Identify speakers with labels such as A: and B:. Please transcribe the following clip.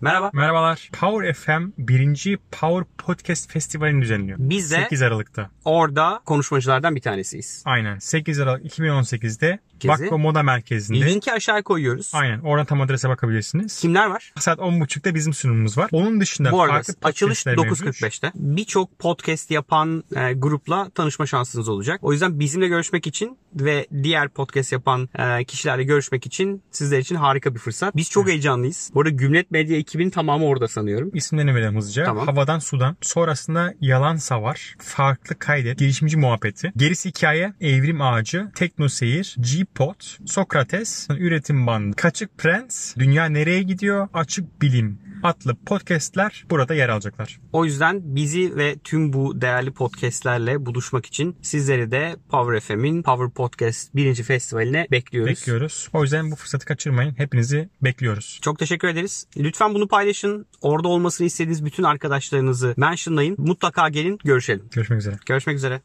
A: Merhaba.
B: Merhabalar. Power FM 1. Power Podcast Festivali'ni düzenliyor.
A: Biz de
B: 8 Aralık'ta.
A: orada konuşmacılardan bir tanesiyiz.
B: Aynen. 8 Aralık 2018'de
A: Gezi.
B: Vakko Moda Merkezi'nde.
A: Linki aşağı koyuyoruz.
B: Aynen. Oradan tam adrese bakabilirsiniz.
A: Kimler var?
B: Saat 10.30'da bizim sunumumuz var. Onun dışında
A: Bu arada
B: farklı
A: açılış
B: podcastler mevcut.
A: 9.45'te. Birçok podcast yapan e, grupla tanışma şansınız olacak. O yüzden bizimle görüşmek için ve diğer podcast yapan e, kişilerle görüşmek için sizler için harika bir fırsat. Biz çok heyecanlıyız. Bu arada Gümlet Medya ekibinin tamamı orada sanıyorum.
B: İsimlerini verelim hızlıca.
A: Tamam.
B: Havadan sudan. Sonrasında yalan savar. Farklı kaydet. Girişimci muhabbeti. Gerisi hikaye. Evrim ağacı. Tekno seyir. G-Pod. Sokrates. Üretim bandı. Kaçık Prens. Dünya nereye gidiyor? Açık bilim adlı podcastler burada yer alacaklar.
A: O yüzden bizi ve tüm bu değerli podcastlerle buluşmak için sizleri de Power FM'in Power Podcast 1. Festivali'ne bekliyoruz.
B: Bekliyoruz. O yüzden bu fırsatı kaçırmayın. Hepinizi bekliyoruz.
A: Çok teşekkür ederiz. Lütfen bunu paylaşın. Orada olmasını istediğiniz bütün arkadaşlarınızı mentionlayın. Mutlaka gelin görüşelim.
B: Görüşmek üzere.
A: Görüşmek üzere.